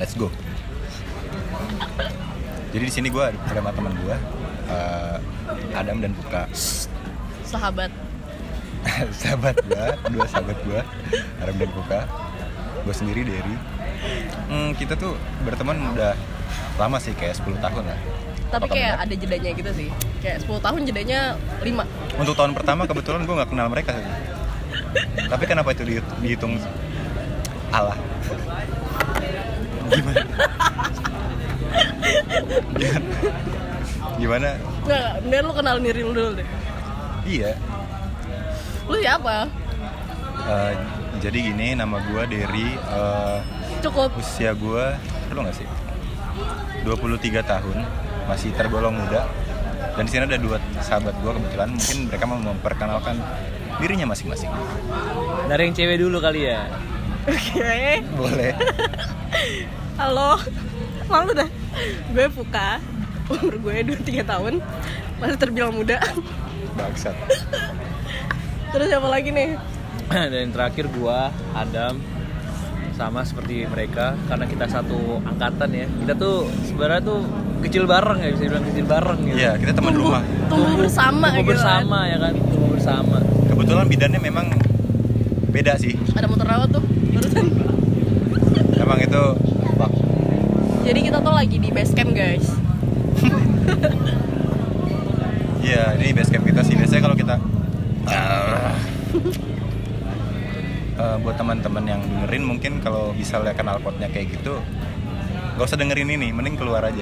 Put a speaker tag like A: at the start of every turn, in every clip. A: let's go. Jadi di sini gue ada sama teman gue, eh, Adam dan Puka,
B: Sahabat.
A: sahabat gue, dua sahabat gue, Adam dan Puka, gue sendiri Derry. Hmm, kita tuh berteman udah lama sih kayak 10 tahun lah.
B: Tapi
A: Atau
B: kayak
A: benar.
B: ada jedanya gitu sih. Kayak 10 tahun jedanya 5.
A: Untuk tahun pertama kebetulan gue nggak kenal mereka sih. Tapi kenapa itu dihitung, dihitung Allah? Gimana? Gimana? Gimana?
B: Nggak, mendingan lu kenalin diri lu dulu deh.
A: Iya.
B: Lu siapa?
A: eh, jadi gini, nama gue Derry. eh,
B: Cukup.
A: usia gue, perlu nggak sih? 23 tahun, masih tergolong muda. Dan di sini ada dua sahabat gue kebetulan, mungkin mereka mau memperkenalkan dirinya masing-masing.
C: Dari yang cewek dulu kali ya.
B: Oke.
A: Boleh.
B: Halo. Malu dah. Gue Puka. Umur gue 23 tahun. Masih terbilang muda.
A: Bangsat.
B: Terus siapa lagi nih?
C: Dan yang terakhir gua Adam sama seperti mereka karena kita satu angkatan ya. Kita tuh sebenarnya tuh kecil bareng ya bisa bilang kecil bareng gitu.
A: Iya, kita teman rumah.
B: Tumbuh- Tumbuh bersama
C: Tumbuh
B: gitu kan.
C: bersama ya kan, tumbuh bersama.
A: Kebetulan bidannya memang beda sih.
B: kan. Ada motor rawat tuh. Barusan.
A: Emang itu wah,
B: Jadi kita tuh lagi di base camp, guys.
A: Iya, ini base camp kita sih. Biasanya kalau kita
C: Ah.
A: Eh, buat teman-teman yang dengerin mungkin kalau misalnya kenal potnya kayak gitu gak usah dengerin ini, mending keluar aja.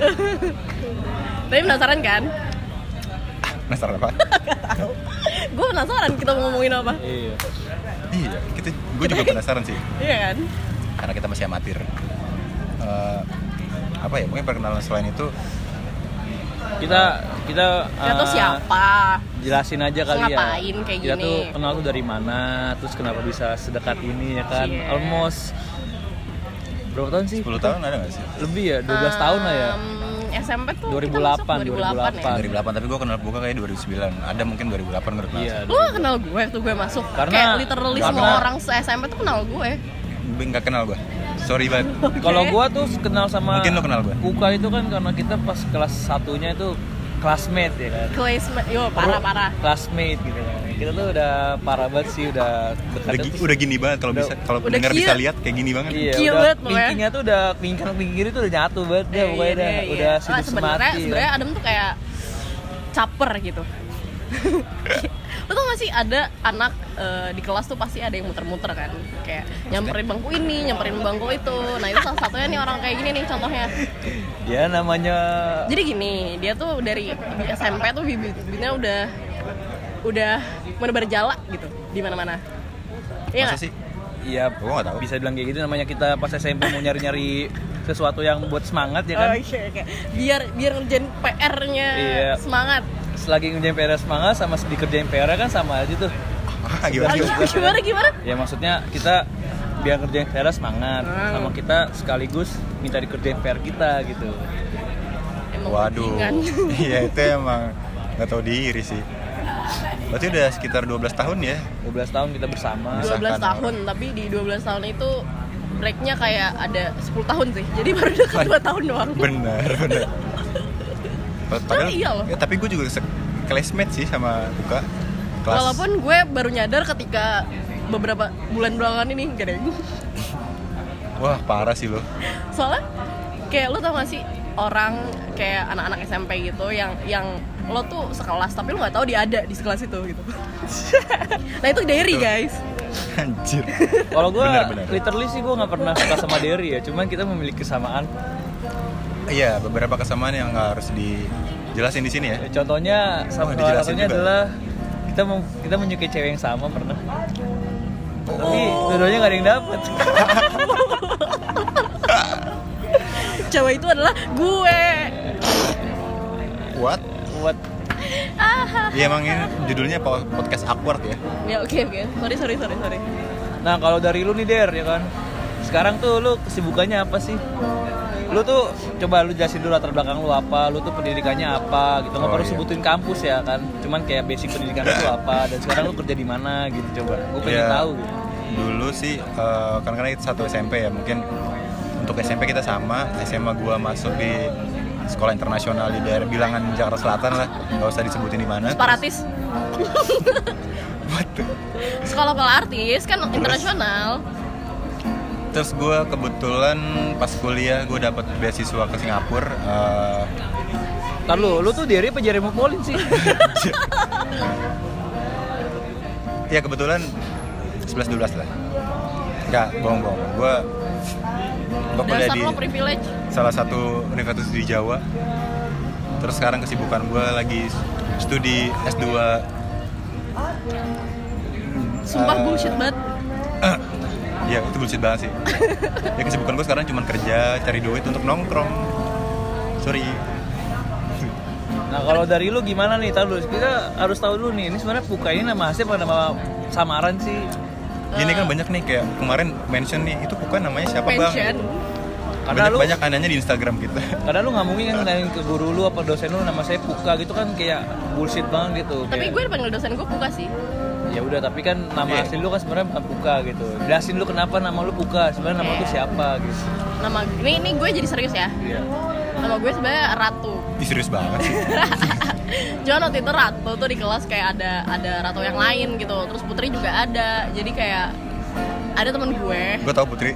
B: Tapi penasaran kan?
A: Penasaran apa?
B: Gue penasaran kita mau ngomongin apa.
C: Iya.
A: iya, kita gue juga penasaran sih.
B: Iya kan?
A: karena kita masih amatir Eh, apa ya mungkin perkenalan selain itu
C: Kita kita
B: Kita tuh
C: eh,
B: siapa?
C: Jelasin aja kali ya.
B: Ngapain kayak
C: Kita
B: gini?
C: tuh kenal tuh dari mana, terus kenapa bisa sedekat ini ya kan?
B: Iya.
C: Almost berapa tahun sih?
A: 10 tahun ada gak sih?
C: Lebih ya, 12 tahun lah ya.
B: Um, SMP tuh
C: 2008,
B: kita masuk 2008,
C: 2008.
B: ya.
A: 2008 tapi gue kenal buka kayak 2009 ada mungkin 2008 menurut
C: Iya.
B: Lu gak kenal gue waktu gue masuk.
C: Karena-
B: Kayak literally semua
C: karena-
B: orang se-SMP tuh kenal gue.
A: gue nggak kenal gue sorry banget
C: Kalau gua tuh kenal sama
A: Mungkin lo kenal gua.
C: Kuka itu kan karena kita pas kelas satunya itu classmate ya kan.
B: Classmate, yo parah-parah.
C: Classmate gitu kan. Kita tuh udah parah banget sih udah
A: udah,
C: dekatnya
A: gi-
C: tuh-
A: udah gini banget kalau bisa kalau
B: Udah
A: pendengar
B: gila.
A: bisa lihat kayak gini banget
B: Gila
C: Iya, udah
B: banget pokoknya.
C: pinggirnya tuh udah pingkang pinggir itu udah nyatu banget dah
B: Eh,
C: pokoknya dah.
B: iya, iya.
C: udah
B: Ah,
C: situ
B: sebenarnya
C: semati. kan.
B: sebenarnya Adam tuh kayak caper gitu. Lu tuh masih ada anak eh, di kelas tuh pasti ada yang muter-muter kan Kayak nyamperin bangku ini, nyamperin bangku itu Nah itu salah satunya nih orang kayak gini nih contohnya
C: Ya namanya
B: Jadi gini, dia tuh dari SMP tuh bibit-bibitnya udah udah menebar jala gitu di mana-mana. Iya
A: masa
B: nggak?
A: sih
C: Iya,
A: Gua nggak tahu.
C: bisa bilang kayak gitu namanya kita pas SMP mau nyari-nyari sesuatu yang buat semangat ya kan.
B: Oh, iya, iya. Biar biar ngerjain PR-nya
C: Iya.
B: semangat.
C: Selagi ngerjain PR semangat sama dikerjain PR kan sama aja tuh.
A: ah, gimana
B: Ah,
A: sih?
B: gimana gimana? gimana?
C: ya maksudnya kita biar kerjain PR semangat
A: Ah.
C: sama kita sekaligus minta dikerjain PR kita gitu
B: Emang
A: waduh
B: bajingan.
A: iya itu emang nggak tahu diri sih berarti udah sekitar 12 tahun ya
C: 12 tahun kita bersama
A: Bisa.
B: 12
A: Misalkan
B: tahun, tapi di 12 tahun itu breaknya kayak ada 10 tahun sih. Jadi baru dekat 2 tahun doang.
A: benar benar
B: Tapi iya loh.
A: ya, tapi gue juga se- classmate sih sama buka kelas
B: Walaupun gue baru nyadar ketika beberapa bulan belakangan ini gak ada yang-
A: wah parah sih lo
B: Soalnya kayak lo tau gak sih orang kayak anak-anak SMP gitu yang yang lo tuh sekelas tapi lo nggak tahu dia ada di sekelas itu gitu. nah itu diary
A: Betul.
B: guys.
A: anjir
C: kalau gue
A: Benar, benar.
C: literally sih gue nggak pernah suka sama Derry ya cuman kita memiliki kesamaan
A: iya beberapa kesamaan yang nggak harus dijelasin di sini ya
C: Ya, contohnya sama
A: dijelasin
C: salah satunya
A: juga.
C: adalah kita mau kita menyukai cewek yang sama pernah
A: Oh.
C: tapi dua-duanya nggak ada yang dapet
B: Cewek itu adalah gue.
A: what
C: buat
A: Iya emang ini judulnya po- podcast awkward ya.
B: Ya oke oke. Sorry sorry sorry sorry.
C: nah kalau dari lu nih Der ya kan sekarang tuh lu kesibukannya apa sih lu tuh coba lu jelasin dulu latar belakang lu apa lu tuh pendidikannya apa gitu nggak
A: Oh,
C: perlu
A: iya.
C: sebutin kampus ya kan cuman kayak basic pendidikan lu tuh apa dan sekarang lu kerja di mana gitu coba gue pengen
A: Iya.
C: tahu gitu
A: kan Dulu sih eh, karena karena itu satu SMP ya mungkin untuk SMP kita sama SMA gua masuk di sekolah internasional di daerah bilangan Jakarta Selatan lah nggak usah disebutin di mana
B: separatis
A: What the-
B: sekolah pola artis kan internasional
A: terus gua kebetulan pas kuliah gua dapat beasiswa ke Singapura eh,
C: Ntar lu, lu tuh dari apa Jeremy Polin sih?
A: ya kebetulan 11-12 lah nggak bohong-bohong gua gua kuliah
B: dasar
A: di
B: lo privilege
A: salah satu universitas di Jawa terus sekarang kesibukan gue lagi studi S2
B: sumpah
A: Eh,
B: bullshit banget
A: ya itu bullshit banget sih ya kesibukan gue sekarang cuma kerja cari duit untuk nongkrong sorry
C: nah kalau dari lu gimana nih? Tar lu, kita harus tahu dulu nih. Ini sebenarnya Puka ini nama asli apa nama samaran sih?
A: ini
B: Eh.
A: kan banyak nih kayak kemarin mention nih itu bukan namanya siapa
B: pension
A: bang Iya.
C: Karena
A: banyak
C: lu,
A: banyak ananya di Instagram gitu. kita
C: karena lu nggak mungkin kan nanyain ke guru lu apa dosen lu nama saya Puka gitu kan kayak bullshit banget gitu.
B: tapi
C: Kayak,
B: gue dipanggil dosen gue buka sih
C: ya udah tapi kan
A: Iya.
C: nama asli lu kan sebenarnya bukan Puka gitu. Jelasin lu kenapa nama lu Puka, sebenarnya nama lu tuh siapa gitu.
B: nama ini ini gue jadi serius ya
C: Iya.
B: nama gue sebenarnya Ratu
A: Ih, serius banget sih
B: Cuman waktu itu Ratu tuh di kelas kayak ada ada Ratu yang lain gitu terus Putri juga ada jadi kayak ada teman gue
A: gue tau Putri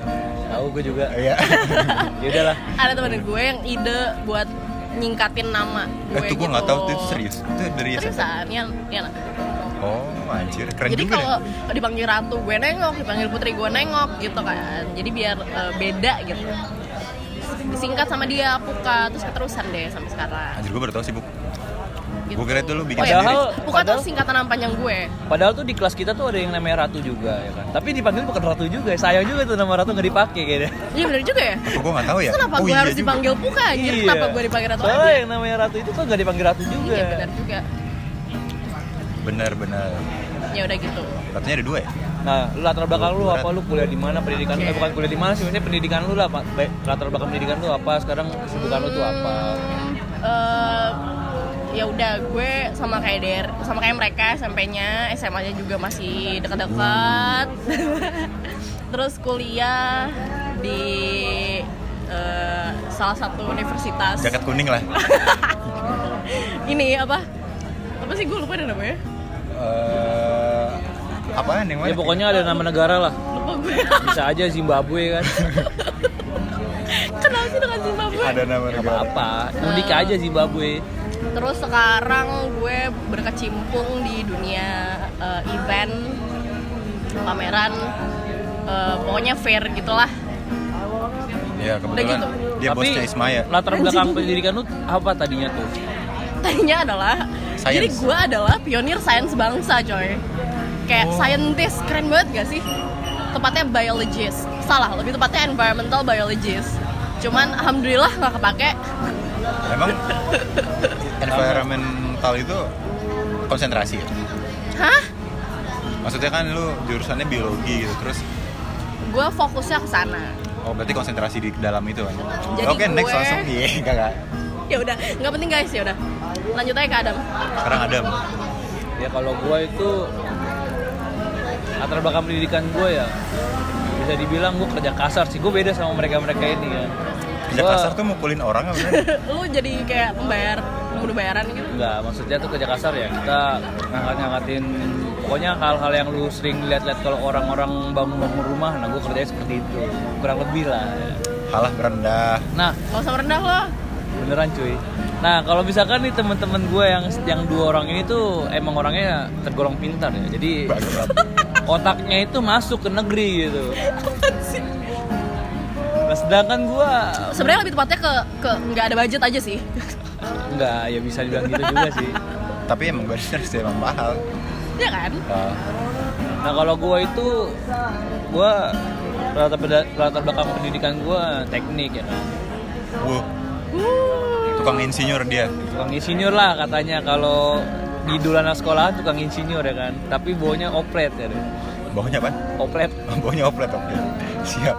C: Tahu gue juga.
A: ya
C: Ya udahlah.
B: ada teman gue yang ide buat nyingkatin nama gue
A: itu gue
B: gitu.
A: nggak tahu Eh, tuh itu serius itu dari
B: seriusan ya, ya
A: oh anjir keren
B: jadi
A: juga ya?
B: kalau
A: deh.
B: dipanggil ratu gue nengok dipanggil putri gue nengok gitu kan jadi biar eh, beda gitu disingkat sama dia puka terus keterusan deh sampai sekarang
A: anjir gue baru tau sih Bu.
B: gitu.
A: Gue kira itu lu bikin
B: iya,
C: sendiri.
B: Puka- puka tuh
C: Padahal-
B: singkatan nama panjang gue
C: Padahal tuh di kelas kita tuh ada yang namanya Ratu juga ya kan. Tapi dipanggil bukan Ratu juga. Sayang juga tuh nama Ratu nggak dipakai kayaknya.
B: iya bener juga ya
A: gue nggak tahu ya
B: Terus kenapa
A: Oh,
B: gue
A: iya
B: harus
A: juga. Iya.
B: dipanggil puka anjir kenapa gue dipanggil ratu
C: Iya. Soalnya
B: aja
C: yang namanya Ratu itu tuh nggak dipanggil Ratu juga.
B: iya bener juga
A: benar benar
B: ya udah gitu
A: katanya ada dua ya
C: Nah, lu latar belakang lu apa? Lu kuliah di mana? Pendidikan
B: Oke.
C: eh bukan kuliah di mana sih? Maksudnya pendidikan lu lah, Pak. Baik, Latar belakang pendidikan lu apa? Sekarang kesibukan lu tuh apa?
B: eh ya udah gue sama kayak der sama kayak mereka SMP-nya SMA-nya juga masih dekat-dekat terus kuliah di eh, salah satu universitas
A: jaket kuning lah
B: ini apa apa sih gue lupa deh namanya
A: Eh, apaan yang mana?
C: Ya pokoknya ada nama negara lah.
B: lupa gue
C: Bisa aja Zimbabwe kan.
B: kenapa sih dengan Zimbabwe
A: ada nama
C: Apa
A: negara.
C: apa? Unik aja Zimbabwe.
B: terus sekarang gue berkecimpung di dunia eh, event pameran eh, pokoknya fair gitulah
A: Ya kebetulan
B: Udah gitu.
A: dia bosnya Ismaya.
C: latar belakang pendidikan lu apa tadinya tuh?
B: tadinya adalah
A: Science.
B: jadi gue adalah pionir sains bangsa coy kayak
A: Oh.
B: scientist keren banget gak sih tepatnya biologist salah lebih tepatnya environmental biologist cuman alhamdulillah nggak kepake
A: Emang environmental itu konsentrasi ya?
B: hah
A: Maksudnya kan lu jurusannya biologi gitu terus
B: gue fokusnya ke sana
A: oh berarti konsentrasi di dalam itu kan.
B: Jadi
A: Oke, next
B: gue-
A: langsung iya enggak enggak.
B: ya udah nggak penting guys ya udah lanjut aja ke Adam
A: Sekarang Adam.
C: Ya kalau gua itu latar belakang pendidikan gua ya bisa dibilang gua kerja kasar sih. Gua beda sama mereka-mereka ini kan.
A: Kerja
C: Gua-
A: kasar tuh mukulin orang apa gimana?
B: lu jadi kayak pembayar pembunuh bayaran gitu
C: Enggak, maksudnya tuh kerja kasar ya. Kita ngangkat-ngangkatin pokoknya hal-hal yang lu sering lihat-lihat kalau orang-orang bangun-bangun rumah, nah gua kerjanya seperti itu. Kurang lebih lah. ya.
A: Halah berendah.
C: Nah,
B: gak usah merendah lo
C: beneran cuy. Nah, kalau misalkan nih teman-teman gua yang yang dua orang ini tuh emang orangnya tergolong pintar ya. Jadi
A: Bagus.
C: otaknya itu masuk ke negeri gitu. Nah, sedangkan gua
B: sebenarnya lebih tepatnya ke ke nggak ada budget aja sih
C: enggak ya bisa dibilang gitu juga sih.
A: Tapi emang bener sih emang mahal.
B: ya kan
A: Ah,
C: Nah, kalau gua itu gua latar, beda- latar belakang pendidikan gua teknik ya. kan.
A: wuh, tukang insinyur dia.
C: Tukang insinyur lah katanya kalau di dulu anak sekolah tukang insinyur ya kan. Tapi bawahnya oplet ya. kan.
A: Baunya apa?
C: Oplet.
A: Baunya oplet oke. Siap.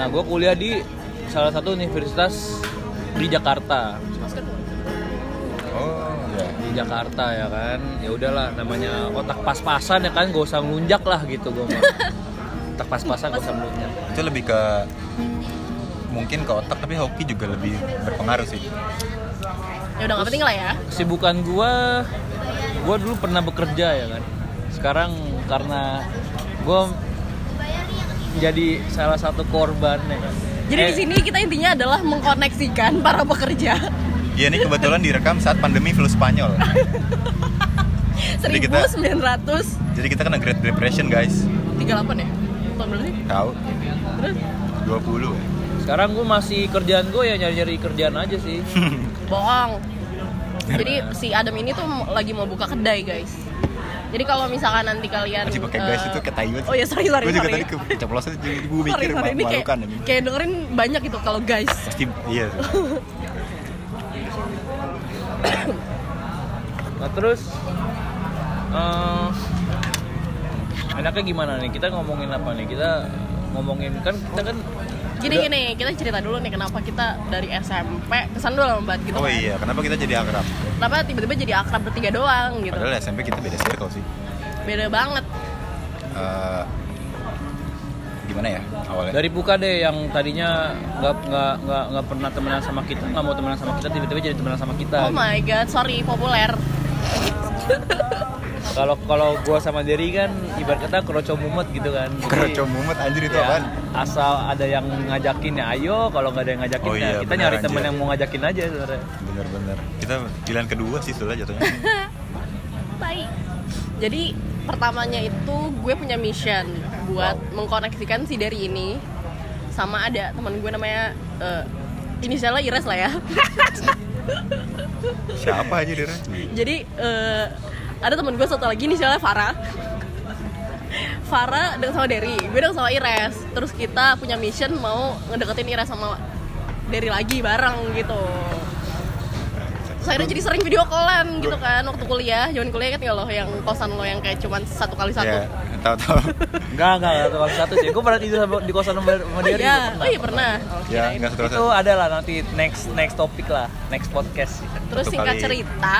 C: Nah, gua kuliah di salah satu universitas di Jakarta.
A: Oh, ya.
C: di Jakarta ya kan ya udahlah namanya otak pas-pasan ya kan gak usah ngelunjak lah gitu gue mah otak pas-pasan gak usah ngelunjak
A: itu lebih ke mungkin ke otak tapi hoki juga lebih berpengaruh sih
B: ya udah nggak penting lah ya
C: Kesibukan gua gua dulu pernah bekerja ya kan. Sekarang karena gua jadi salah satu korban ya kan.
B: jadi
C: Eh,
B: di sini kita intinya adalah mengkoneksikan para pekerja
A: Iya ini kebetulan direkam saat pandemi flu Spanyol. Jadi kita-
B: 1938
A: Jadi kita kena Great Depression guys.
B: ya tahun berapa sih
A: Tahu?
B: terus
A: 20 ya.
C: Sekarang gua masih kerjaan gua ya nyari-nyari kerjaan aja sih.
B: bohong
A: Ya.
B: jadi si Adam ini tuh lagi mau buka kedai guys jadi kalau misalkan nanti kalian
A: Masih pakai guys
B: eh,
A: itu kayak tai banget.
B: oh ya sorry sorry
A: Gue juga
B: sorry.
A: tadi ke- keceplosan jadi gue mikir
B: Sorry, sorry, ini kayak,
A: malukan ini.
B: kayak dengerin banyak gitu kalau guys
A: Pasti iya. sih.
C: Nah terus eh, enaknya gimana nih? Kita ngomongin apa nih? Kita ngomongin kan kita kan
B: jadi
C: udah-
B: gini kita cerita dulu nih kenapa kita dari SMP kesan dulu lama banget gitu
A: Oh
B: kan.
A: iya, kenapa kita jadi akrab?
B: kenapa tiba-tiba jadi akrab bertiga doang gitu
A: Padahal ya. SMP kita beda circle sih.
B: beda banget
A: Eh, gimana ya awalnya?
C: dari Puka deh yang tadinya nggak nggak nggak nggak pernah temenan sama kita nggak mau temenan sama kita tiba-tiba jadi temenan sama
A: Nah.
C: kita
B: oh my god sorry populer
C: kalau kalau gua sama Derry kan ibarat kata kroco mumet gitu kan Jadi,
A: Kerocok mumet anjir
B: Iya.
A: itu
C: ya,
A: apaan?
C: asal ada yang ngajakin ya ayo kalau nggak ada yang ngajakin
A: Oh
C: ya
A: iya,
C: kita
A: bener,
C: nyari
A: anjir.
C: temen yang mau ngajakin aja sebenarnya
A: Bener-bener. Kita pilihan kedua sih sebenernya jatuhnya.
B: Baik. Jadi pertamanya itu gue punya mission buat mengkoneksikan si dari ini sama ada teman gue namanya eh, inisialnya Ires lah ya.
A: Siapa aja Dira?
B: Jadi eh, ada teman gue satu lagi inisialnya Farah. Farah dengan sama Derry, gue dengan sama Ires. Terus kita punya mission mau ngedeketin Ires sama Derry lagi bareng gitu. Terus akhirnya jadi sering video callan gitu kan waktu kuliah, zaman kuliah kan nggak lo yang kosan lo yang kayak cuman satu kali satu.
A: Ya, tahu-tahu.
C: nggak nggak nggak satu satu sih gua pernah tidur sama, di kosan sama, sama
B: Oh
C: Derry
B: iya,
C: pernah.
B: oh iya pernah. Oh,
A: Ya,
B: kirain.
A: nggak seterusnya.
C: itu ada lah nanti next next topik lah next podcast
B: Terus
A: Satu
B: singkat
A: kali.
B: cerita,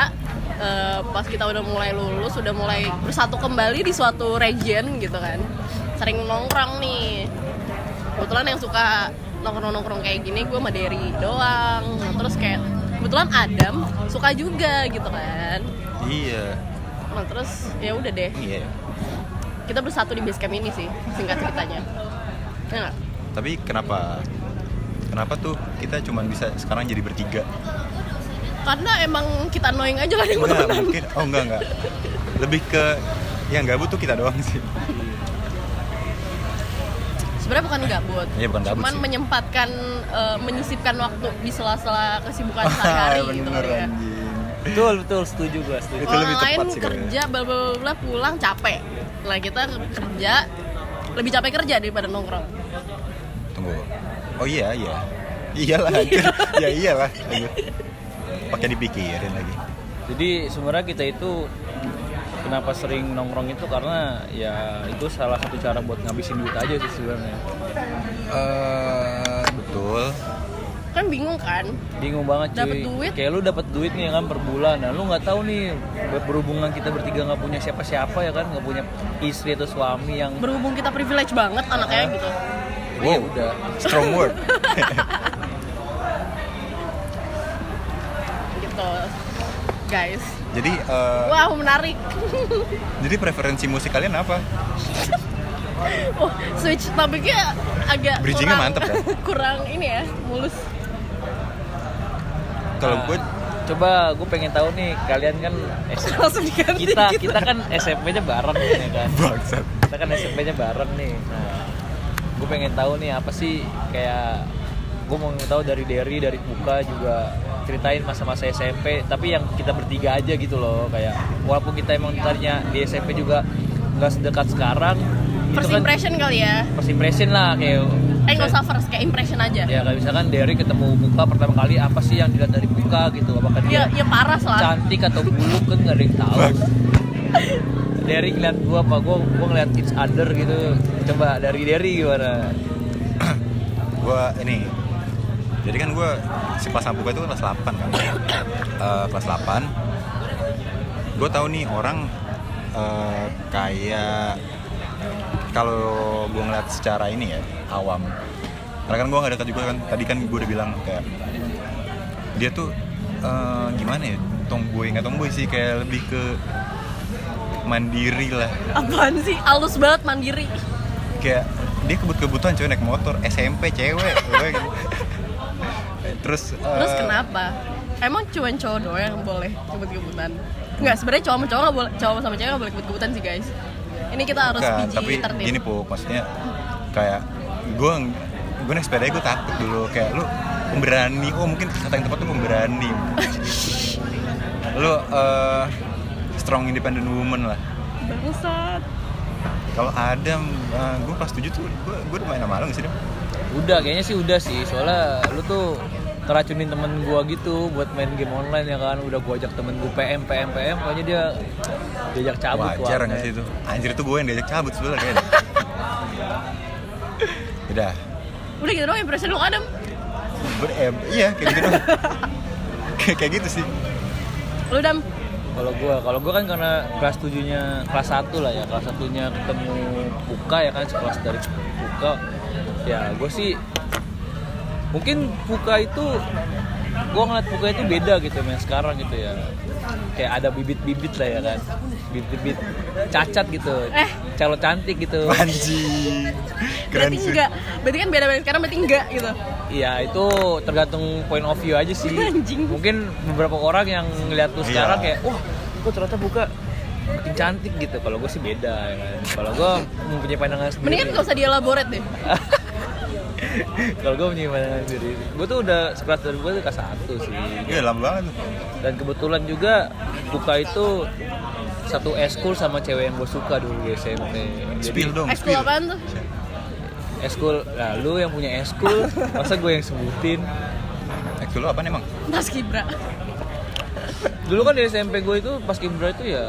B: eh, pas kita udah mulai lulus, udah mulai bersatu kembali di suatu region gitu kan. Sering nongkrong nih. Kebetulan yang suka nongkrong-nongkrong kayak gini gue sama Derry doang. Nah, terus kayak kebetulan Adam suka juga gitu kan.
A: Iya.
B: Nah, terus ya udah deh,
A: Iya. ya.
B: kita bersatu di base camp ini sih singkat ceritanya. Ya nggak?
A: Tapi kenapa? Kenapa tuh kita cuman bisa sekarang jadi bertiga?
B: karena emang kita annoying aja kan yang mau
A: Enggak,
B: temenan.
A: mungkin. Oh, enggak, enggak. Lebih ke yang gabut tuh kita doang sih.
B: sebenarnya bukan gabut,
A: Iya, bukan gabut
B: cuman
A: sih.
B: menyempatkan eh, menyisipkan waktu di sela-sela kesibukan sehari-hari gitu
A: Bener,
B: kali ya.
A: anjing.
C: betul betul setuju gua setuju
A: Itu
B: Orang
A: lebih tepat
B: lain
A: sih ya. kayaknya.
B: kerja bla bla bla, bla, pulang capek. Lah kita kerja lebih capek kerja daripada nongkrong.
A: Tunggu. Oh iya, iya. Iyalah, anjir. ya iyalah. Anjir. Pakai dipikirin lagi.
C: Jadi sebenarnya kita itu kenapa sering nongkrong itu karena ya itu salah satu cara buat ngabisin duit aja sih sebenarnya.
A: Eh, betul.
B: Kan bingung kan?
C: Bingung banget cuy.
B: Dapet duit.
C: Kayak lu dapat duit nih ya kan per bulan. Nah, lu nggak tahu nih ber- berhubungan kita bertiga nggak punya siapa-siapa ya kan, nggak punya istri atau suami yang
B: Berhubung kita privilege banget anaknya gitu.
A: Wow.
C: Ya udah.
A: Strong word.
B: Gitu. Guys.
A: jadi eh,
B: Wow, menarik.
A: jadi preferensi musik kalian apa?
B: Wah, Oh, switch topiknya agak
A: Bridging-nya
B: kurang,
A: mantep ya.
B: kurang ini ya, mulus.
A: Kalau
C: Nah,
A: gue
C: coba gue pengen tahu nih kalian kan S-
B: Langsung diganti
C: kita
B: gitu.
C: kita kan SMP-nya bareng ya kan.
A: bangsat.
C: kita kan SMP-nya bareng nih. Nah, gue pengen tahu nih apa sih kayak gue mau tahu dari Derry, dari Buka juga ceritain masa-masa SMP. Tapi yang kita bertiga aja gitu loh kayak walaupun kita emang tadinya di SMP juga nggak sedekat sekarang. itu
B: First
C: kan
B: impression kali ya.
C: First impression lah kayak.
B: Eh nggak usah first, kayak impression aja.
C: Ya kayak misalkan Derry ketemu Buka pertama kali apa sih yang dilihat dari Buka gitu? Apakah
B: Ya,
C: dia
B: ya parah lah.
C: cantik atau buluk kan nggak ada yang tahu. Derry ngeliat gua apa gua gua ngeliat each other gitu. Coba dari Derry gimana?
A: gue ini jadi kan gue si kelas sampuka itu kelas 8 kan Eh, kelas 8 gue tahu nih orang eh, kayak kalau gue ngeliat secara ini ya awam karena kan gue nggak dekat juga kan tadi kan gue udah bilang kayak dia tuh eh, gimana ya tomboy nggak tomboy sih kayak lebih ke mandiri lah
B: Apaan sih? Alus banget mandiri.
A: Eh. kayak dia kebut-kebutan cewek naik motor SMP cewek gue gitu. terus
B: Terus
A: eh,
B: kenapa? Emang cuman cowok doang yang boleh kebut-kebutan? Enggak, sebenarnya cowok sama cowok nggak boleh, cowok sama cewek nggak boleh kebut-kebutan sih guys. Ini kita harus
A: Bukan,
B: biji
A: tapi
B: tertib.
A: gini Puk, maksudnya kayak gue gue naik sepeda gue takut dulu kayak lu pemberani oh mungkin kata yang tepat tuh pemberani lu eh, strong independent woman lah
B: Bangsat.
A: kalau Adam gue kelas 7 tuh gue gue udah main sama lu nggak sih Dam?
C: Udah, kayaknya sih udah sih. Soalnya lu tuh keracunin temen gua gitu buat main game online ya kan. Udah gua ajak temen gua PM, PM, PM. Pokoknya dia diajak cabut. ke
A: wajar nggak
C: warnet.
A: sih itu anjir itu gue yang diajak cabut sebenernya kayaknya udah
B: Udah gitu doang impression lu Adam.
A: ber eh, iya kayak gitu doang Kayak- kayak gitu sih
B: Lu Dam.
C: Kalau gua, kalau gua kan karena kelas tujuhnya kelas 1 lah ya. Kelas satunya ketemu Puka ya kan sekelas dari Puka. Ya, gua sih mungkin Puka itu gua ngeliat Puka itu beda gitu men sekarang gitu ya. Kayak ada bibit-bibit lah ya kan. Bibit-bibit cacat gitu.
B: Eh.
C: Calo cantik gitu.
A: anjing keren
B: berarti
A: sih
B: enggak. Berarti kan beda-beda sekarang berarti enggak gitu.
C: Iya, itu tergantung point of view aja sih.
B: Anjing.
C: Mungkin beberapa orang yang ngeliat lu
A: Iya.
C: sekarang kayak, wah, kok ternyata buka makin cantik gitu. Kalau gue sih beda ya kan. Kalau gue mempunyai pandangan sendiri.
A: Iya.
B: Mendingan nggak usah dielaborate deh.
C: Kalau gue punya pandangan sendiri. Gue tuh udah sekelas dari gue tuh kelas satu sih.
A: Iya lama banget tuh.
C: Dan kebetulan juga buka itu satu eskul sama cewek yang gue suka dulu di SMP. Jadi,
A: Spill dong.
B: Ekskul
A: spill.
B: apaan tuh?
C: Eskul, nah, lu yang punya eskul, masa gue yang sebutin?
A: Ekskul lu apaan emang?
B: Mas Kibra.
C: dulu kan di SMP gue itu pas Ibra itu ya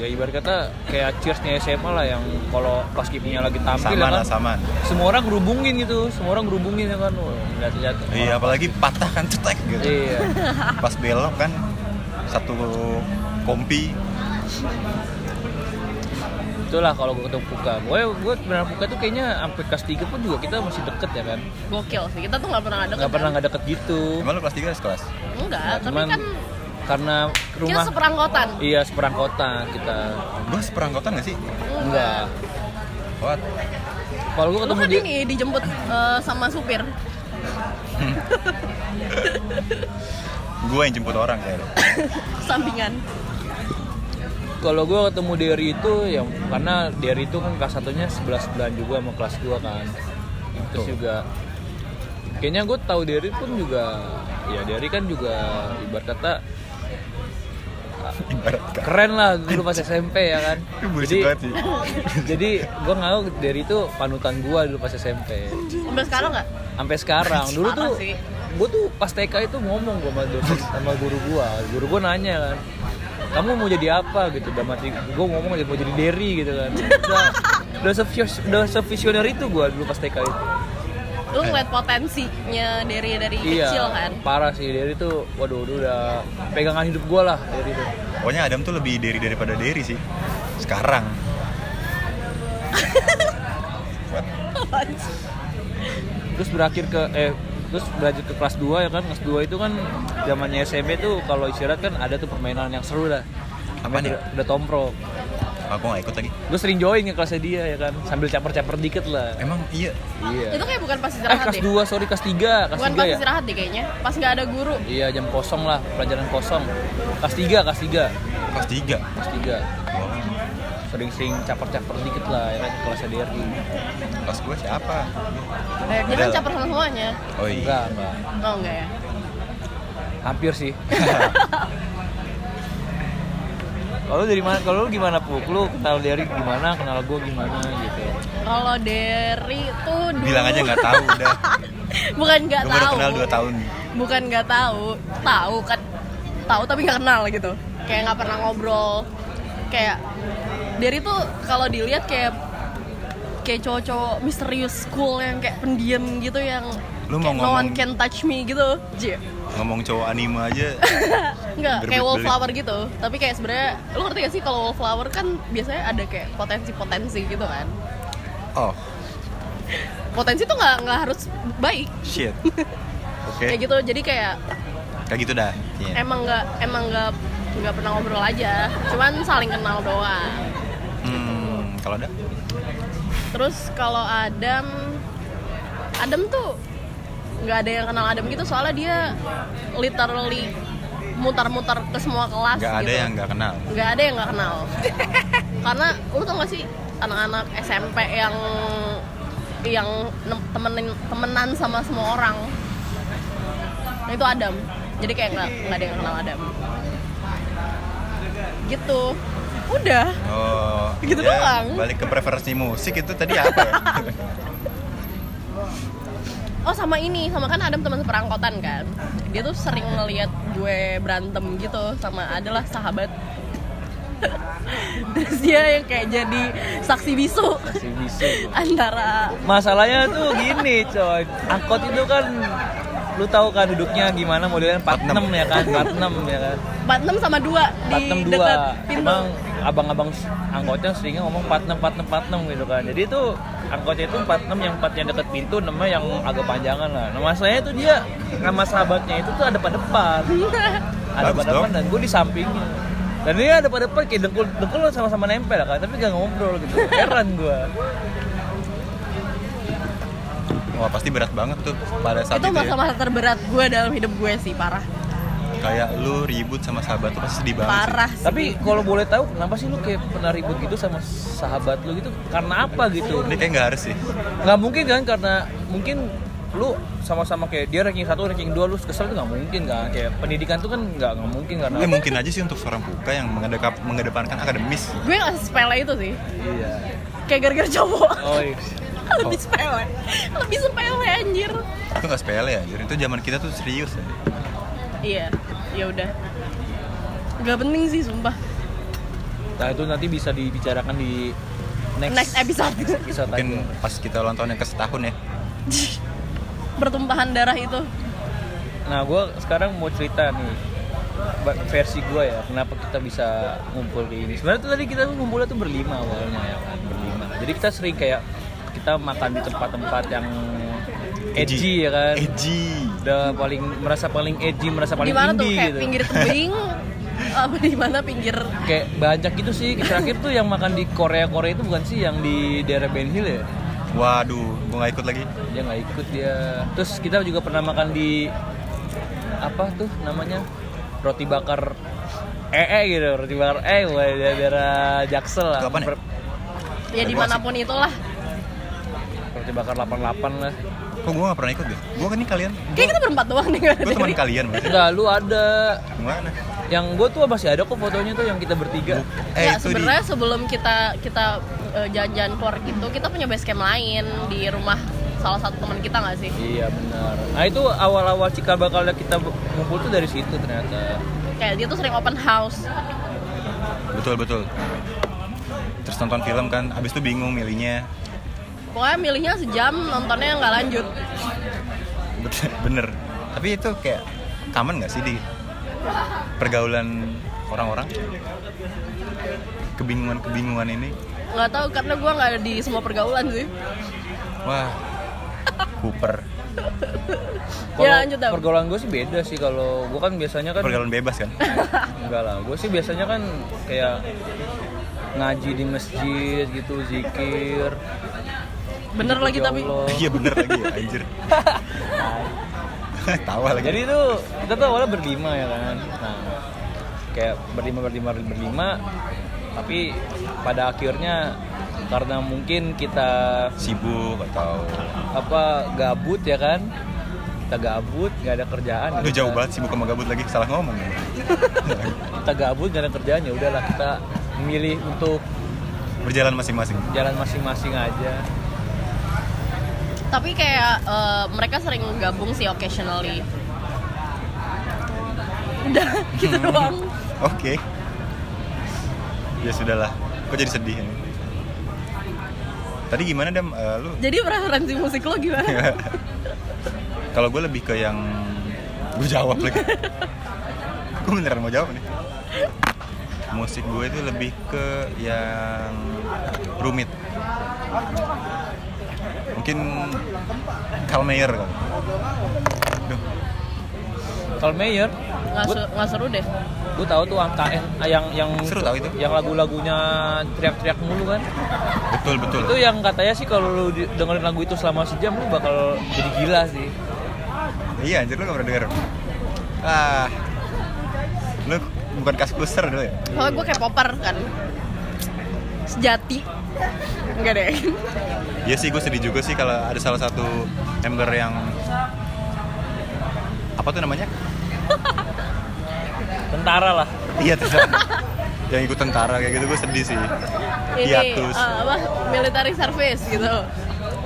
C: ya ibarat kata kayak cheersnya SMA lah yang kalau pas kipinya lagi
A: Saman
C: tampil ya
A: lah
C: kan
A: saman.
C: semua orang gerubungin gitu semua orang gerubungin ya kan Wah, lihat-lihat
A: Iya apalagi patah kan cetek gitu.
C: iya
A: Pas belok kan satu kompi
C: itulah kalau gue ketemu Puka gue gue sebenarnya Puka tuh kayaknya sampai kelas 3 pun juga kita masih deket ya kan
B: Gokil sih. Kita tuh nggak pernah ada
C: nggak pernah nggak deket gitu
A: emang lu kelas 3 harus kelas
B: Enggak, kan? tapi
C: cuman
B: kan
C: karena
B: kita
C: rumah
B: seperangkotan.
C: iya seperang kota kita
A: gua seperangkotan gak sih
C: enggak
A: what
C: kalau
B: Iya.
C: gue
B: Lu
C: ketemu
B: kan
C: dia
B: ini dijemput eh, sama supir.
A: gua yang jemput orang kayak lu.
B: Sampingan.
C: Kalau gue ketemu Derry itu ya karena Derry itu kan kelas satunya sebelah sebelahan juga sama kelas gua kan. Terus
A: Betul.
C: juga kayaknya gue tahu Derry pun juga ya Derry kan juga ibarat kata
A: ibarat kan
C: keren lah dulu pas SMP ya kan.
A: Itu bullshit
C: Jadi
A: banget sih
C: jadi gue nggak tahu Derry itu panutan gua dulu pas SMP.
B: Sampai sekarang nggak?
C: Sampai sekarang dulu
B: Parah
C: tuh
B: sih.
C: gue tuh pas TK itu ngomong gue sama, dosen- sama guru gua guru gua nanya kan kamu mau jadi apa gitu udah mati gue ngomong aja mau jadi Derry gitu kan udah udah sevis- udah sevisioner itu gua dulu pas TK itu
B: Lu ngeliat potensinya dari dari kecil kan?
C: Iya. parah sih Derry tuh waduh dulu udah pegangan hidup gua lah Derry tuh
A: pokoknya Adam tuh lebih dari daripada Derry sih sekarang What?
C: terus berakhir ke eh terus belajar ke kelas 2 ya kan kelas 2 itu kan zamannya SMP tuh kalau istirahat kan ada tuh permainan yang seru lah
A: Apaan
C: Namanya
A: ya?
C: udah, udah tomprok
A: aku gak ikut lagi
C: gue sering join ke kelasnya dia ya kan sambil caper-caper dikit lah
A: emang iya
C: iya
B: Itu kayak bukan pas
C: Eh,
B: istirahat
C: kelas
B: deh.
C: 2, sorry, kelas 3, kelas
B: Bukan
C: 3
B: pas
C: ya?
B: istirahat deh kayaknya. Pas nggak ada guru.
C: Iya, jam kosong lah, pelajaran kosong. Kelas 3, kelas 3,
A: kelas 3
C: kelas 3. Sering-sering caper-caper dikit lah, ya kan, kelas DRI.
A: kelas gua siapa
B: Eh, Jangan
A: Padahal-
B: caper sama semuanya.
A: oh iya
C: Enggak, enggak.
B: Oh enggak ya.
C: Hampir sih. Kalau lu dari mana? Kalau lu gimana, Puk? Lu kenal DRI gimana? Kenal gue gimana gitu.
B: Kalau dari itu dulu
A: bilang aja nggak tahu udah
B: bukan nggak
A: gua baru
B: tahu.
A: kenal 2 tahun
B: Bukan nggak tahu. Tahu kan tahu tapi nggak kenal gitu. Kayak nggak pernah ngobrol. Kayak dari itu kalau dilihat kayak kayak cowok-cowok misterius cool yang kayak pendiam gitu yang
A: Lu mau
B: kayak no one
A: ngomong-
B: can touch me gitu. Jir.
A: ngomong cowok anime aja
B: Enggak, kayak
A: Berbelit-belit.
B: wallflower gitu. Tapi kayak sebenarnya lu ngerti gak sih kalau wallflower kan biasanya ada kayak potensi-potensi gitu kan.
A: oh
B: potensi tuh nggak nggak harus baik
A: shit oke
B: kayak gitu jadi kayak
A: kayak gitu dah Iya.
B: emang nggak emang nggak nggak pernah ngobrol aja cuman saling kenal doang
A: hmm, kalau ada
B: terus kalau Adam Adam tuh nggak ada yang kenal Adam gitu soalnya dia literally mutar-mutar ke semua kelas
A: nggak ada
B: gitu.
A: yang nggak kenal
B: nggak ada yang nggak kenal karena lu tau gak sih anak-anak SMP yang yang nem- temenin temenan sama semua orang nah, itu Adam jadi kayak nggak nggak ada yang kenal Adam gitu udah
A: oh
B: Gitu doang.
A: balik ke preferensi musik itu tadi apa ya?
B: oh sama ini sama kan Adam teman seperangkotan kan dia tuh sering ngeliat gue berantem gitu sama adalah sahabat terus dia yang kayak jadi saksi bisu
C: masih bisa
B: antara
C: masalahnya tuh gini coy angkot itu kan lu tahu kan duduknya gimana modelnya 46 ya kan 46 ya kan
B: 46 sama 2 di
C: 46
B: dekat
C: dua
B: pintu.
C: emang abang-abang angkotnya seringnya ngomong 46 46 46 gitu kan jadi itu angkotnya itu 46 yang 4 yang deket pintu 6 yang agak panjangan lah nah masalahnya itu dia sama sahabatnya itu tuh ada pada depan ada
A: Bagus
C: pada depan
A: dong.
C: dan gue di sampingnya dan dia ada pada depan kayak dengkul dengkul sama-sama nempel kan tapi gak ngobrol gitu heran gue
A: wah pasti berat banget tuh pada saat itu,
B: itu
A: ya.
B: masa-masa terberat gue dalam hidup gue sih parah
A: kayak lu ribut sama sahabat tuh pasti sedih banget sih.
B: parah sih.
C: tapi kalau boleh tahu kenapa sih lu kayak pernah ribut gitu sama sahabat lu gitu karena apa gitu
A: ini kayak nggak harus sih
C: nggak mungkin kan karena mungkin lu sama-sama kayak dia ranking satu ranking dua lu kesel tuh nggak mungkin kan kayak pendidikan tuh kan nggak nggak mungkin karena
A: ya mungkin aja sih untuk seorang puka yang mengedekap, mengedepankan akademis
B: gue gak sepele itu sih
C: iya
B: kayak gara-gara cowok
C: oh iya.
B: lebih sepele lebih sepele anjir
A: itu nggak sepele ya itu zaman kita tuh serius ya
B: iya ya udah nggak penting sih sumpah
C: nah itu nanti bisa dibicarakan di next,
B: Next episode.
C: next episode
A: mungkin
C: aja.
A: pas kita ulang tahun yang ke setahun ya
B: pertumpahan darah itu
C: nah gue sekarang mau cerita nih ba- versi gue ya kenapa kita bisa ngumpul di ini sebenarnya tuh tadi kita tuh ngumpulnya tuh berlima awalnya ya kan berlima jadi kita sering kayak kita makan di tempat-tempat yang edgy ya kan
A: edgy
C: udah paling merasa paling edgy merasa paling
B: di mana tuh
C: indie
B: kayak
C: gitu
B: pinggir tebing apa di mana pinggir
C: kayak banyak gitu sih terakhir tuh yang makan di Korea Korea itu bukan sih yang di daerah Ben Hill ya
A: waduh gue nggak ikut lagi
C: dia nggak ikut dia terus kita juga pernah makan di apa tuh namanya roti bakar eh eh gitu roti bakar eh wah, di daerah Jaksel lah
A: Itu apaan ya?
C: Per-
B: ya dimanapun itulah
C: roti bakar 88 lah
A: kok gue nggak pernah ikut deh gue kan ini kalian
B: kayak kita berempat doang nih nggak ada
A: gue teman
B: dari-
A: kalian maksudnya
C: enggak lu ada
A: gimana
C: yang gue tuh masih ada kok fotonya tuh yang kita bertiga
B: Nggak,
A: Eh, di-
B: sebenarnya sebelum kita kita eh, jalan-jalan keluar gitu, kita punya base camp lain di rumah salah satu teman kita nggak sih?
C: Iya benar. Nah itu awal-awal cikal bakalnya kita ngumpul tuh dari situ ternyata.
B: Kayak dia tuh sering open house.
A: betul betul terus nonton film kan abis itu bingung milihnya
B: Pokoknya milihnya sejam, nontonnya nggak lanjut.
A: Bet- bener tapi itu kayak common nggak sih di pergaulan orang-orang kebingungan-kebingungan ini
B: Nggak tahu karena gua nggak ada di semua pergaulan sih.
A: wah Cooper
C: Kalau
B: Ya, lanjut, Dam.
C: Pergaulan gue sih beda sih kalau gue kan biasanya kan
A: pergaulan bebas kan
C: enggak lah. Gue sih biasanya kan kayak ngaji di masjid gitu, zikir.
B: Bener
C: Gitu,
B: lagi
C: ya
B: tapi
C: Allah.
A: iya bener lagi ya, anjir tawa lagi
C: Jadi tuh kita tuh awalnya berlima ya kan. Nah, kayak berlima berlima berlima tapi pada akhirnya karena mungkin kita
A: sibuk atau
C: apa gabut ya kan kita gabut nggak ada kerjaan
A: Aduh
C: ya
A: jauh
C: kan?
A: banget sibuk sama gabut lagi salah ngomong ya.
C: kita gabut nggak ada kerjaan ya udahlah kita memilih untuk
A: berjalan masing-masing
C: jalan masing-masing aja
B: tapi kayak eh, mereka sering gabung sih occasionally. Udah gitu doang.
A: oke ya sudahlah kok jadi sedih ya? tadi gimana dam Eh, lu
B: Jadi preferensi musik lo
A: Iya.
B: gimana?
A: Kalau gue lebih ke yang gue jawab lagi. gue beneran mau jawab nih. Musik gue itu lebih ke yang rumit. mungkin Kalmeyer kali Duh,
C: Kalau Mayer,
B: nggak
C: gue
B: seru, nggak seru deh
C: gue tahu tuh angka N ah, yang yang
A: Seru tau itu.
C: yang lagu-lagunya teriak-teriak mulu kan.
A: betul betul
C: Itu ya. yang katanya sih kalau lu di- dengerin lagu itu selama sejam lu bakal jadi gila sih.
A: iya anjir lu gak pernah denger ah lu bukan kas kluster dulu ya
B: soalnya gue kayak popper kan sejati enggak deh
A: Iya sih, gue sedih juga sih kalau ada salah satu member yang apa tuh namanya?
C: Tentara lah.
A: Iya, tidak. yang ikut tentara kayak gitu gue sedih sih.
B: ini
A: Hiatus.
B: eh, apa military service gitu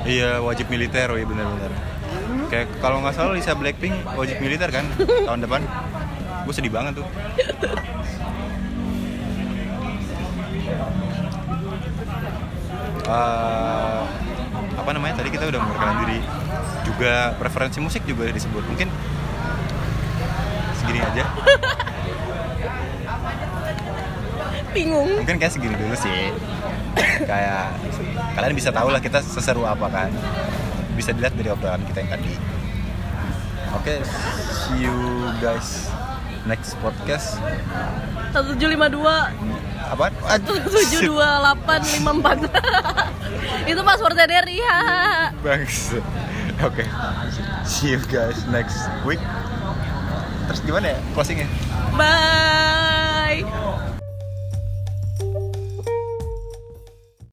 A: Iya, wajib militer, oh iya benar-benar. Kayak kalau nggak salah Lisa Blackpink wajib militer kan tahun depan. Gue sedih banget tuh. Eh, apa namanya tadi kita udah memperkenalkan diri juga preferensi musik juga disebut mungkin segini aja
B: bingung
A: mungkin kayak segini dulu sih kayak kalian bisa tahu lah kita seseru apa kan bisa dilihat dari obrolan kita yang tadi oke see you guys next podcast
B: 1752
A: apa Ah, shit.
B: 72854 itu passwordnya dari ya
A: Bangsa. oke see you guys next week terus gimana ya closingnya
B: bye